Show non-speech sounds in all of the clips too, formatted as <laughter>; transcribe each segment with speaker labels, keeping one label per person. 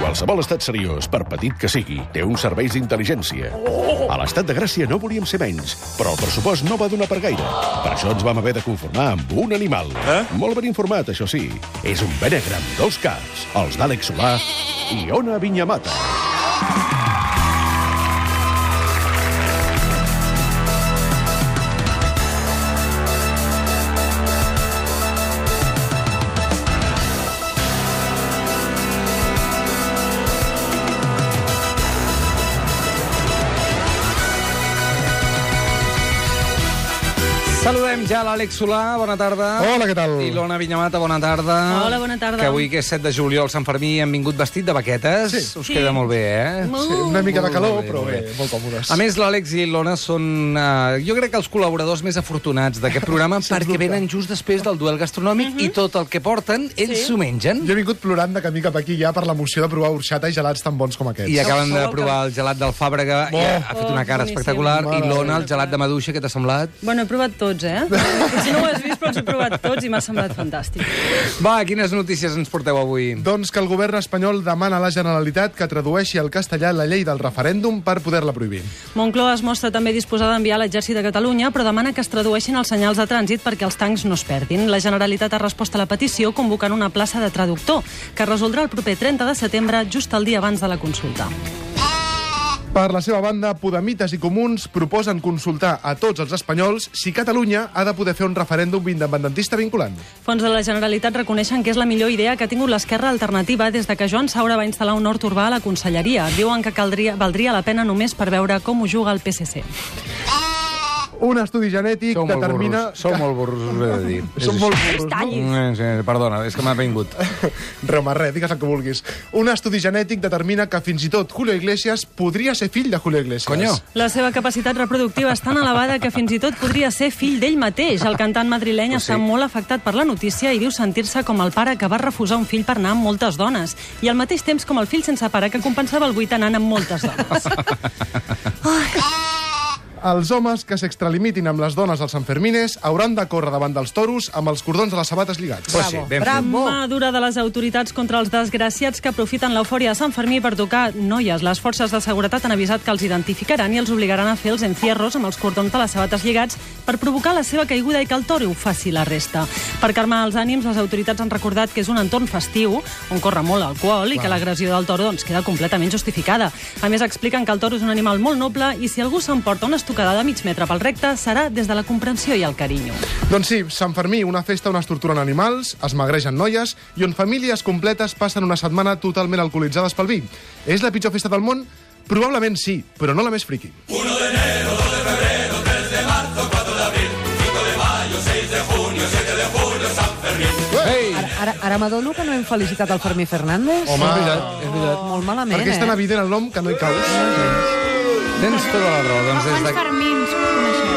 Speaker 1: Qualsevol estat seriós, per petit que sigui, té uns serveis d'intel·ligència. A l'estat de Gràcia no volíem ser menys, però el pressupost no va donar per gaire. Per això ens vam haver de conformar amb un animal.
Speaker 2: Eh?
Speaker 1: Molt ben informat, això sí. És un benegre amb dos caps, els d'Àlex Solà i Ona Vinyamata.
Speaker 3: Saludem ja l'Àlex Solà, bona tarda.
Speaker 4: Hola, què tal?
Speaker 3: I l'Ona Vinyamata, bona tarda.
Speaker 5: Hola, bona tarda.
Speaker 3: Que avui, que és 7 de juliol, Sant Fermí, hem vingut vestit de baquetes.
Speaker 4: Sí.
Speaker 3: Us
Speaker 5: Sí.
Speaker 3: queda molt bé, eh?
Speaker 4: Sí, una mica de
Speaker 3: Molt
Speaker 4: calor,
Speaker 3: bé,
Speaker 4: però
Speaker 3: molt
Speaker 4: bé,
Speaker 3: bé. Ah.
Speaker 4: molt còmodes.
Speaker 3: A més, l'Àlex i l'Ona són, eh, jo crec que els col·laboradors més afortunats d'aquest
Speaker 4: <laughs>
Speaker 3: programa perquè venen just després del duel gastronòmic i
Speaker 5: Mhm.
Speaker 3: tot el que porten, ells s'ho mengen.
Speaker 4: Jo he vingut plorant de camí cap aquí ja per l'emoció de provar horxata i gelats tan bons com aquests.
Speaker 3: I acaben de
Speaker 5: boca.
Speaker 3: provar el gelat del Fàbrega, i ha ha fet una cara
Speaker 5: Oh, boníssim.
Speaker 3: espectacular, i
Speaker 4: Mare
Speaker 3: l'Ona, el gelat de maduixa, què t'ha semblat?
Speaker 5: Bueno, he provat tots, eh? Potser no ho has vist, però els he provat tots i m'ha semblat fantàstic.
Speaker 3: Va, quines notícies ens porteu avui?
Speaker 4: Doncs que el govern espanyol demana a la Generalitat que tradueixi al castellà la llei del referèndum per poder-la prohibir.
Speaker 5: Moncloa es mostra també disposada a enviar l'exèrcit de Catalunya, però demana que es tradueixin els senyals de trànsit perquè els tancs no es perdin. La Generalitat ha respost a la petició convocant una plaça de traductor, que es resoldrà el proper 30 de setembre, just el dia abans de la consulta.
Speaker 4: Per la seva banda, Podemites i Comuns proposen consultar a tots els espanyols si Catalunya ha de poder fer un referèndum independentista vinculant.
Speaker 5: Fons de la Generalitat reconeixen que és la millor idea que ha tingut l'esquerra alternativa des de que Joan Saura va instal·lar un hort urbà a la conselleria. Diuen que caldria, valdria la pena només per veure com ho juga el PSC.
Speaker 4: Un estudi genètic
Speaker 3: Sou molt
Speaker 4: determina...
Speaker 3: burros, sou molt burros, us he de dir.
Speaker 4: Som molt burros, no?
Speaker 3: Mm, sí, Perdona, és que m'ha vingut.
Speaker 4: <laughs> Remarré, digues el que vulguis. Un estudi genètic determina que fins i tot Julio Iglesias podria ser fill de Julio Iglesias.
Speaker 3: Coño.
Speaker 5: La seva capacitat reproductiva és tan elevada que fins i tot podria ser fill d'ell mateix. El cantant madrileny
Speaker 3: Pues sí.
Speaker 5: està molt afectat per la notícia i diu sentir-se com el pare que va refusar un fill per anar amb moltes dones i al mateix temps com el fill sense pare que compensava el buit anant amb moltes dones.
Speaker 4: Els homes que s'extralimitin amb les dones als Sanfermines hauran de córrer davant dels toros amb els cordons de les sabates lligats.
Speaker 3: Pues sí, ben fet.
Speaker 5: Mà dura de les autoritats contra els desgraciats que aprofiten l'eufòria de Sant Fermí per tocar noies. Les forces de seguretat han avisat que els identificaran i els obligaran a fer els encierros amb els cordons de les sabates lligats per provocar la seva caiguda i que el toro ho faci la resta. Per calmar els ànims, les autoritats han recordat que és un entorn festiu on corre molt alcohol i que l'agressió del toro doncs, queda completament justificada. A més, expliquen que el toro és un animal molt noble i si algú s'emporta una estocada de mig metre pel recte serà des de la comprensió i el carinyo.
Speaker 4: Doncs sí, Sant Fermí, una festa on es torturen animals, es magregen noies i on famílies completes passen una setmana totalment alcoholitzades pel vi. És la pitjor festa del món? Probablement sí, però no la més friqui.
Speaker 3: Ei!
Speaker 6: Ara, ara m'adono que no hem felicitat el Fermí Fernández.
Speaker 4: Home,
Speaker 6: és
Speaker 4: veritat,
Speaker 6: és veritat. Molt malament,
Speaker 4: Perquè és tan
Speaker 6: eh?
Speaker 4: evident el nom que no hi caus.
Speaker 3: Tens tota la raó. Doncs des
Speaker 7: Quants
Speaker 3: de...
Speaker 7: Fermins coneixem?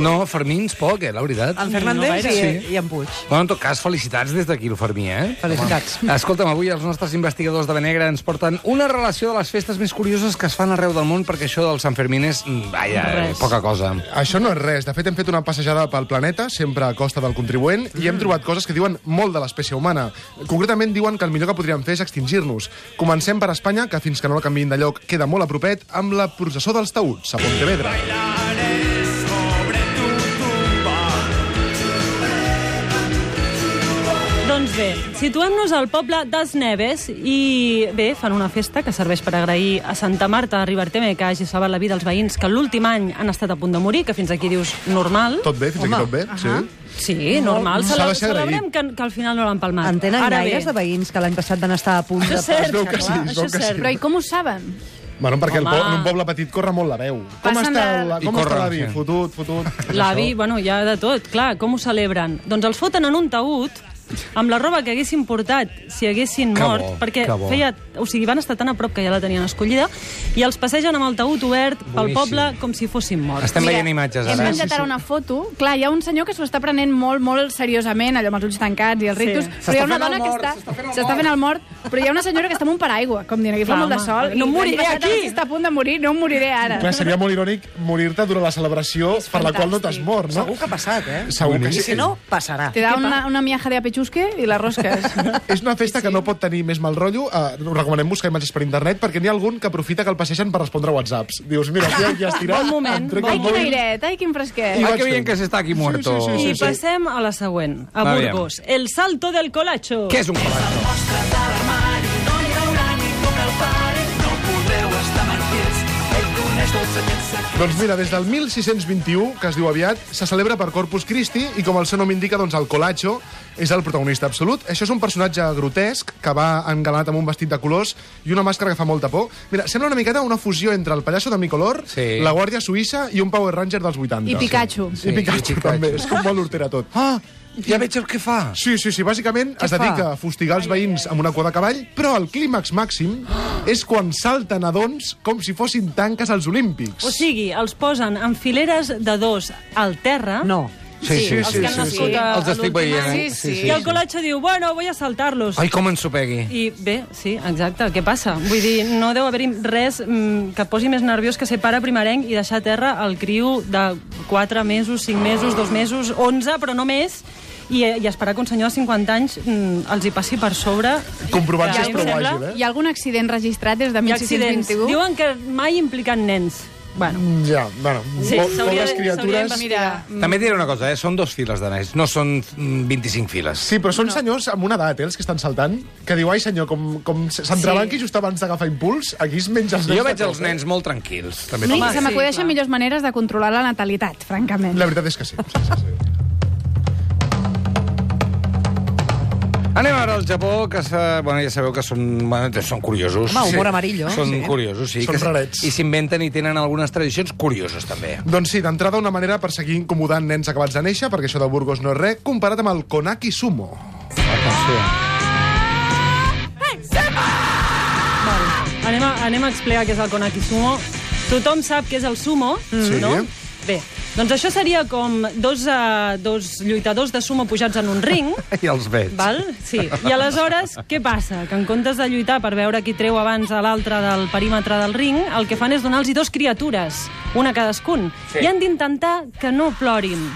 Speaker 3: No, Fermins poc, eh, la veritat.
Speaker 6: El Fernández
Speaker 3: gaire.
Speaker 6: i,
Speaker 3: Sí.
Speaker 6: i en Puig.
Speaker 3: Bueno, en tot cas, felicitats des d'aquí, el Fermí, eh?
Speaker 6: Felicitats.
Speaker 3: Home. Escolta'm, avui els nostres investigadors de Benegra ens porten una relació de les festes més curioses que es fan arreu del món, perquè això del Sant Fermín és, mm, vaja,
Speaker 5: Res.
Speaker 3: poca cosa.
Speaker 4: Això no és res. De fet, hem fet una passejada pel planeta, sempre a costa del contribuent, i hem trobat coses que diuen molt de l'espècie humana. Concretament diuen que el millor que podríem fer és extingir-nos. Comencem per Espanya, que fins que no la canviïn de lloc queda molt a propet, amb la processó dels taüts, a Pontevedra.
Speaker 5: Doncs bé, situem-nos al poble dels Neves i bé, fan una festa que serveix per agrair a Santa Marta a Riberteme que hagi salvat la vida als veïns que l'últim any han estat a punt de morir, que fins aquí dius normal.
Speaker 4: Tot bé, fins Home, aquí tot bé? Sí.
Speaker 5: Sí, normal.
Speaker 4: S'ha de ser agraït.
Speaker 5: celebrem que, que al final no l'han palmat.
Speaker 6: En tenen
Speaker 5: Ah, Ara
Speaker 6: gaires
Speaker 5: bé,
Speaker 6: de veïns que l'any passat van estar a punt
Speaker 5: Això
Speaker 6: de...
Speaker 5: és cert,
Speaker 4: Es veu que
Speaker 5: clar,
Speaker 4: sí, es
Speaker 5: això
Speaker 4: veu
Speaker 5: és
Speaker 4: que sí.
Speaker 5: cert.
Speaker 7: Però i com ho saben?
Speaker 4: Bueno, perquè el
Speaker 5: Home.
Speaker 4: po en un poble petit corre molt la veu. Com
Speaker 7: Passen
Speaker 4: està
Speaker 7: de-
Speaker 4: la-
Speaker 3: I
Speaker 4: com està
Speaker 3: corren,
Speaker 4: l'avi?
Speaker 3: sí.
Speaker 4: Fotut, fotut.
Speaker 5: L'avi, bueno, hi ha de tot, clar, com ho celebren? Doncs els foten en un taüt amb la roba que haguessin portat si haguessin
Speaker 3: Que
Speaker 5: mort,
Speaker 3: bo,
Speaker 5: perquè
Speaker 3: que bo.
Speaker 5: feia, o sigui, van estar tan a prop que ja la tenien escollida, i els passegen amb el taüt obert pel
Speaker 3: Boníssim.
Speaker 5: poble com si fossin morts.
Speaker 3: Estem veient imatges,
Speaker 7: Hem
Speaker 3: ara. eh?
Speaker 7: penjat ara una foto. Clar, hi ha un senyor que s'ho està prenent molt, molt seriosament, allò amb els ulls tancats i els
Speaker 5: Sí.
Speaker 7: rictus, però hi ha
Speaker 6: fent
Speaker 7: una
Speaker 6: el
Speaker 7: dona que
Speaker 6: mort,
Speaker 7: està...
Speaker 6: s'està fent el
Speaker 7: S'està fent el mort, però hi ha una senyora que està amb un paraigua, com dient, aquí fa
Speaker 5: Clar,
Speaker 7: molt de
Speaker 5: home,
Speaker 7: sol.
Speaker 5: no
Speaker 7: i
Speaker 5: moriré
Speaker 7: l'any passat
Speaker 5: aquí.
Speaker 7: vaig estar a punt de morir, no em moriré ara.
Speaker 4: Clar, seria molt irònic morir-te durant la celebració per la qual no t'has mort, no?
Speaker 6: Segur que ha passat, eh?
Speaker 4: Segur que
Speaker 6: I
Speaker 4: sí.
Speaker 6: si no, passarà.
Speaker 7: Te da una, una miaja de xusque i les rosques.
Speaker 4: És una festa que no pot tenir més mal rotllo. Uh, recomanem buscar imatges per internet perquè n'hi ha algun que aprofita que el passegen per respondre a whatsapps. Dius, mira, aquí,
Speaker 5: <laughs>
Speaker 4: aquí has tirat...
Speaker 5: Bon moment,
Speaker 4: em trec el
Speaker 7: Ai, quin
Speaker 4: mòbil.
Speaker 7: airet, ai, quin
Speaker 4: I
Speaker 7: fresquet.
Speaker 3: Ah,
Speaker 4: vaig
Speaker 3: que bien
Speaker 4: fent.
Speaker 3: que s'està aquí muerto.
Speaker 4: Sí, sí,
Speaker 5: I
Speaker 4: sí, sí.
Speaker 5: passem a la següent, a
Speaker 3: Va, aviam.
Speaker 5: Burgos. El salto del colacho.
Speaker 3: Què és un col·lapso?
Speaker 4: Doncs mira, des del 1621, que es diu aviat, se celebra per Corpus Christi i com el seu nom indica, doncs el Colacho és el protagonista absolut. Això és un personatge grotesc que va engalanat amb un vestit de colors i una màscara que fa molta por. Mira, sembla una miqueta una fusió entre el pallasso de Micolor,
Speaker 3: Sí.
Speaker 4: la Guàrdia Suïssa i un Power Ranger dels 80.
Speaker 7: I Pikachu.
Speaker 4: Sí. I Pikachu,
Speaker 3: Sí, i Pikachu.
Speaker 4: també, és com molt hortera tot.
Speaker 3: Ah, ja veig el que fa.
Speaker 4: Sí, sí, sí, bàsicament es
Speaker 6: fa?
Speaker 4: dedica a fustigar els veïns amb una cua de cavall, però el clímax màxim és quan salten a dons com si fossin tanques als Olímpics.
Speaker 5: O sigui, els posen en fileres de dos al terra.
Speaker 6: No.
Speaker 3: Sí, sí,
Speaker 5: els que han nascut
Speaker 7: sí.
Speaker 5: a-
Speaker 3: Els
Speaker 5: a
Speaker 3: estic
Speaker 5: l'últim
Speaker 3: veient,
Speaker 5: any.
Speaker 3: eh? Sí, sí,
Speaker 5: I el
Speaker 3: sí.
Speaker 5: colacho diu, bueno, voy a saltarlos.
Speaker 3: Ai, com ens ho pegui.
Speaker 5: I bé, sí, exacte, què passa? Vull dir, no deu haver-hi res mm, que et posi més nerviós que ser pare primerenc i deixar a terra el criu de 4 mesos, 5 mesos, 2 mesos, 11, però no més, i, eh, i esperar que un senyor de 50 anys mm, els hi passi per sobre.
Speaker 4: Comprovant
Speaker 5: I
Speaker 4: que
Speaker 5: a
Speaker 4: és
Speaker 5: mi em
Speaker 4: prou
Speaker 5: sembla-
Speaker 4: àgil, eh?
Speaker 7: Hi ha algun accident registrat des de
Speaker 5: Hi ha accidents.
Speaker 7: 1621?
Speaker 5: Diuen que mai impliquen nens. Bueno,
Speaker 4: Ja, bueno,
Speaker 5: Sí,
Speaker 4: sí, po
Speaker 5: s'hauria-
Speaker 4: poques
Speaker 5: s'hauria
Speaker 4: criatures...
Speaker 5: d'investigar.
Speaker 7: Mira,
Speaker 3: També et diré una cosa, eh? Són dos files de nens, no són mm, 25 files.
Speaker 4: Sí, però són no. senyors amb una edat, eh, els que estan saltant, que diu, ai senyor, com, com s'entrebanqui sí. just abans d'agafar impuls, aquí es menja els nens.
Speaker 3: Jo
Speaker 4: de
Speaker 3: veig
Speaker 4: tot,
Speaker 3: els
Speaker 4: eh?
Speaker 3: nens molt tranquils. També
Speaker 7: a mi
Speaker 5: Home,
Speaker 7: se
Speaker 5: sí,
Speaker 7: m'acudeixen
Speaker 5: clar.
Speaker 7: millors maneres de controlar la natalitat, francament.
Speaker 4: La veritat és que sí. sí, sí, <laughs> sí.
Speaker 3: Anem ara al Japó, que se... bueno, ja sabeu que són, bueno, doncs són curiosos.
Speaker 6: Home, humor amarillo,
Speaker 3: Són
Speaker 6: sí.
Speaker 3: curiosos, sí.
Speaker 4: Són
Speaker 3: que se-
Speaker 4: rarets.
Speaker 3: I s'inventen i tenen algunes tradicions curioses, també.
Speaker 4: Doncs sí, d'entrada una manera per seguir incomodant nens acabats de néixer, perquè això de Burgos no és res, comparat amb el Konaki Sumo.
Speaker 5: anem a, anem a explicar què és el Konaki Sumo. Tothom sap què és el sumo,
Speaker 4: Sí.
Speaker 5: no? Bé, doncs això seria com dos, uh, dos lluitadors de sumo pujats en un ring,
Speaker 3: I els veig.
Speaker 5: Val? Sí. I aleshores, què passa? Que en comptes de lluitar per veure qui treu abans a l'altre del perímetre del ring, el que fan és donar-los dos criatures, una a cadascun, sí. i han d'intentar que no plorin.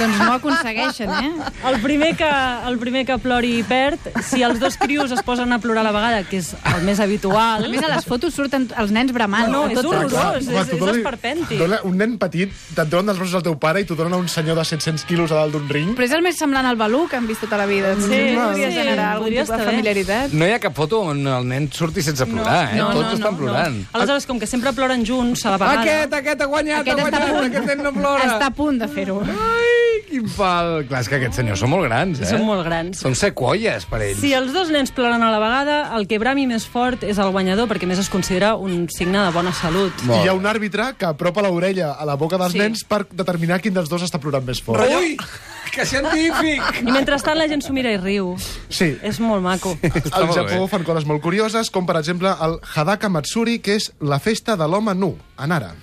Speaker 7: Doncs no aconsegueixen, eh?
Speaker 5: El primer, que, el primer que plori perd, si els dos crius es posen a plorar a la vegada, que és el més habitual...
Speaker 7: A més, a les fotos surten els nens bramant.
Speaker 5: No, no,
Speaker 7: a
Speaker 5: és
Speaker 7: tots els-
Speaker 5: horrorós. és-
Speaker 4: clar, tu
Speaker 5: és
Speaker 4: dona-
Speaker 5: esperpèntic.
Speaker 4: Dona un nen petit, te'n treuen dels braços al teu pare i t'ho donen a un senyor de 700 quilos a dalt d'un ring.
Speaker 7: Però és el més semblant al Balú que hem vist tota la vida. Potser podria
Speaker 5: sí,
Speaker 7: generar algun
Speaker 5: podria
Speaker 7: tipus de
Speaker 5: estar bé.
Speaker 7: familiaritat.
Speaker 3: No hi ha cap foto on el nen surti sense plorar, eh?
Speaker 7: no,
Speaker 3: Tots
Speaker 7: no,
Speaker 3: estan
Speaker 7: no,
Speaker 3: plorant.
Speaker 5: Aleshores, com que sempre ploren junts a la vegada...
Speaker 3: Aquest, aquest ha guanyat,
Speaker 7: Aquest
Speaker 3: ha
Speaker 7: està a
Speaker 3: guanyat,
Speaker 7: punt.
Speaker 3: aquest nen no plora.
Speaker 7: Està a punt de fer-ho.
Speaker 3: Ai, quin pal. Clar, és que aquests senyors són molt grans, eh?
Speaker 5: Són molt grans.
Speaker 3: Són sequoies per ells.
Speaker 5: Si els dos nens ploren a la vegada, el que brami més fort és el guanyador, perquè a més es considera un signe de bona salut.
Speaker 4: I hi ha un àrbitre que apropa l'orella a la boca dels
Speaker 5: Sí.
Speaker 4: nens per determinar quin dels dos està plorant més fort.
Speaker 3: Ui, que científic!
Speaker 5: I mentrestant la gent s'ho mira i riu.
Speaker 4: Sí,
Speaker 5: És molt maco.
Speaker 3: Està
Speaker 4: Al
Speaker 3: molt
Speaker 4: Japó
Speaker 3: bé.
Speaker 4: fan coses molt curioses, com per exemple el Hadaka Matsuri, que és la festa de l'home nu, a Nara.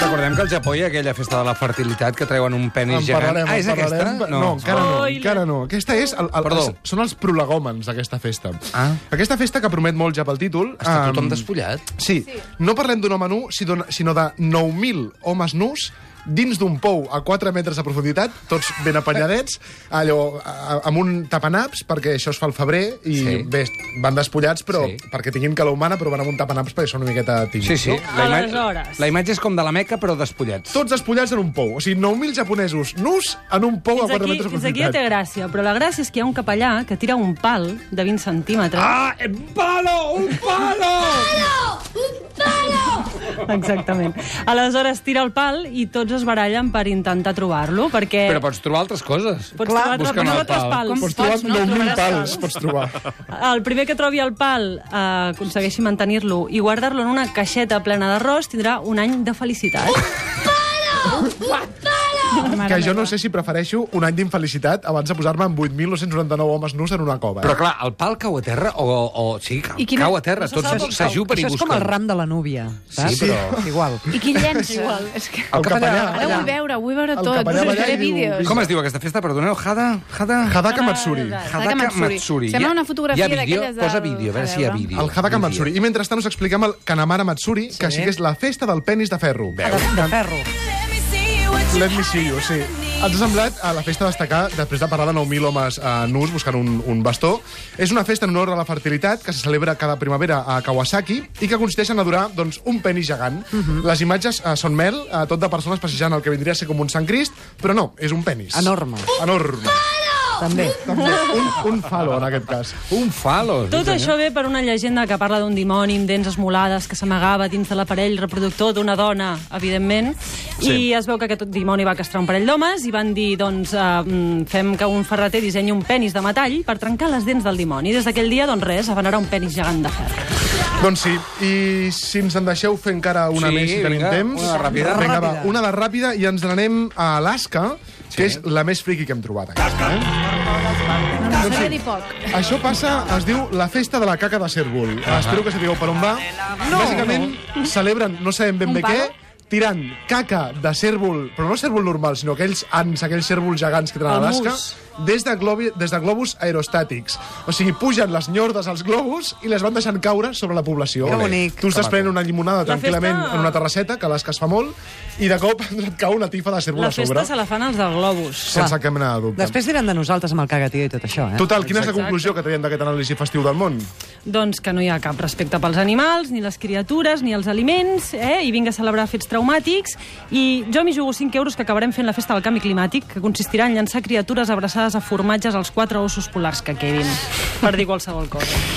Speaker 3: Recordem que al Japó hi ha aquella festa de la fertilitat que treuen un penis
Speaker 4: En
Speaker 3: gegant.
Speaker 4: parlarem,
Speaker 3: ah,
Speaker 4: en
Speaker 3: és
Speaker 4: parlarem.
Speaker 3: aquesta?
Speaker 4: No, encara no,
Speaker 5: Spoiler.
Speaker 4: encara no. Aquesta és... El, el,
Speaker 3: Perdó.
Speaker 4: els, són els prolegòmens d'aquesta festa.
Speaker 3: Ah.
Speaker 4: Aquesta festa que promet molt ja pel títol...
Speaker 3: Està tothom
Speaker 4: em,
Speaker 3: despullat.
Speaker 4: Sí, no parlem d'un home nu, si dona- sinó de 9.000 homes nus dins d'un pou a 4 metres de profunditat, tots ben apanyadets, allò, a- amb un tapanaps, perquè això es fa al febrer, i
Speaker 3: Sí.
Speaker 4: sí. bé, van despullats, però
Speaker 3: Sí.
Speaker 4: sí. perquè tinguin calor humana, però van amb un tapanaps perquè són una miqueta tímids.
Speaker 3: Sí, sí. La, ima-
Speaker 5: Aleshores.
Speaker 3: la imatge és com de la meca, però despullats.
Speaker 4: Tots despullats en un pou. O sigui, 9.000 japonesos nus en un pou
Speaker 5: Fins
Speaker 4: a 4
Speaker 5: aquí,
Speaker 4: metres de
Speaker 5: fins aquí ja
Speaker 4: profunditat.
Speaker 5: té gràcia, però la gràcia és que hi ha un capellà que tira un pal de 20 centímetres.
Speaker 3: Ah, un palo, un palo!
Speaker 5: Exactament. Aleshores tira el pal i tots es barallen per intentar trobar-lo, perquè...
Speaker 3: Però pots trobar altres coses.
Speaker 5: Pots trobar
Speaker 3: busquen el
Speaker 5: altres
Speaker 3: pal.
Speaker 5: pals.
Speaker 4: Pots trobar
Speaker 7: Pots, no?
Speaker 4: 9.000
Speaker 7: Trobaràs
Speaker 4: pals, pots trobar.
Speaker 5: El primer que trobi el pal eh, aconsegueixi mantenir-lo i guardar-lo en una caixeta plena d'arròs tindrà un any de felicitat.
Speaker 4: que jo no sé si prefereixo un any d'infelicitat abans de posar-me amb 8.999 homes nus en una cova. eh?
Speaker 3: Però clar, el pal cau a terra o... o sí, cau,
Speaker 7: I quina-
Speaker 3: cau a terra.
Speaker 5: No se sap on
Speaker 3: Tots
Speaker 5: cau.
Speaker 3: s'ajupen i
Speaker 6: Això és com
Speaker 3: busquen.
Speaker 6: el ram de la núvia, saps?
Speaker 3: Sí, però- <laughs>
Speaker 6: Igual.
Speaker 7: I qui llença? Igual. És que...
Speaker 4: El capellà.
Speaker 7: Ara ho vull veure, ho vull veure
Speaker 4: El
Speaker 7: tot.
Speaker 4: capellà
Speaker 7: Buscaré
Speaker 4: ballar i diu,
Speaker 7: vídeos.
Speaker 3: Com es diu aquesta festa? Perdoneu, Hada... Hada...
Speaker 4: Hadaka Matsuri.
Speaker 7: Hadaka Matsuri. Sembla
Speaker 3: Hi ha-
Speaker 7: una fotografia
Speaker 3: hi ha vídeo?
Speaker 7: d'aquelles del-
Speaker 3: Posa vídeo, a veure
Speaker 7: a
Speaker 3: si hi ha
Speaker 7: veure.
Speaker 3: vídeo.
Speaker 4: El Hadaka
Speaker 3: Vídeo.
Speaker 4: Matsuri. I mentrestant us expliquem el Kanamara Matsuri, que sí que és la festa del penis de ferro.
Speaker 6: De, de ferro.
Speaker 2: Let me see what
Speaker 4: Let me see you, sí. Ens ha semblat a la festa destacar, després de parlar de 9.000 homes eh, nus buscant un, un bastó. És una festa en honor a la fertilitat que se celebra cada primavera a Kawasaki i que consisteix en adorar doncs, un penis gegant. Les imatges eh, són mel, eh, tot de persones passejant el que vindria a ser com un Sant Crist, però no, és un penis.
Speaker 6: Enorme.
Speaker 4: Enorme.
Speaker 6: També.
Speaker 4: També un, un falo, en aquest cas.
Speaker 3: Un falo.
Speaker 5: Tot això ve per una llegenda que parla d'un dimoni amb dents esmolades que s'amagava dins de l'aparell reproductor d'una dona, evidentment, i es veu que aquest dimoni va castrar un parell d'homes i van dir, doncs, eh, mm, fem que un ferreter dissenyi un penis de metall per trencar les dents del dimoni. I des d'aquell dia, doncs res, abanarà un penis gegant de ferro.
Speaker 4: Doncs sí, i si ens en deixeu fer encara una
Speaker 3: Sí,
Speaker 4: més, si tenim
Speaker 3: vinga,
Speaker 4: temps...
Speaker 3: una de ràpida.
Speaker 4: Vinga, va,
Speaker 6: Ràpida.
Speaker 4: una de ràpida i ens n'anem a Alaska, que és la més friqui que hem trobat. eh? Alaska,
Speaker 7: No sabia dir poc.
Speaker 4: Això passa, es diu la festa de la caca de cérvol. Espero que sapigueu per on va. No. Bàsicament celebren, no sabem ben
Speaker 7: Un
Speaker 4: bé què,
Speaker 7: palo?
Speaker 4: tirant caca de cérvol, però no cérvol normal, sinó aquells ants, aquells cérvols gegants que tenen a
Speaker 5: El
Speaker 4: Alaska,
Speaker 5: mus.
Speaker 4: des de, globi, des de globus aerostàtics. O sigui, pugen les nyordes als globus i les van deixant caure sobre la població.
Speaker 6: Que bonic.
Speaker 4: Tu estàs prenent una llimonada
Speaker 5: La
Speaker 4: tranquil·lament
Speaker 5: festa-
Speaker 4: en una terrasseta, que a Alaska es fa molt, i de cop <laughs> et cau una tifa de cérvol
Speaker 5: La
Speaker 4: a sobre.
Speaker 5: festa se la fan els del Globus.
Speaker 4: Sense
Speaker 6: Clar.
Speaker 4: cap mena de dubte.
Speaker 6: Després diran de nosaltres amb el cagatiu i tot això, eh?
Speaker 4: Total, quina és la conclusió que traiem d'aquest anàlisi festiu del món?
Speaker 5: Doncs que no hi ha cap respecte pels animals, ni les criatures, ni els aliments, eh? i vinga a celebrar fets traumàtics. I jo m'hi jugo 5 euros que acabarem fent la festa del canvi climàtic, que consistirà en llançar criatures abraçades a formatges als quatre ossos polars que quedin, per dir qualsevol cosa.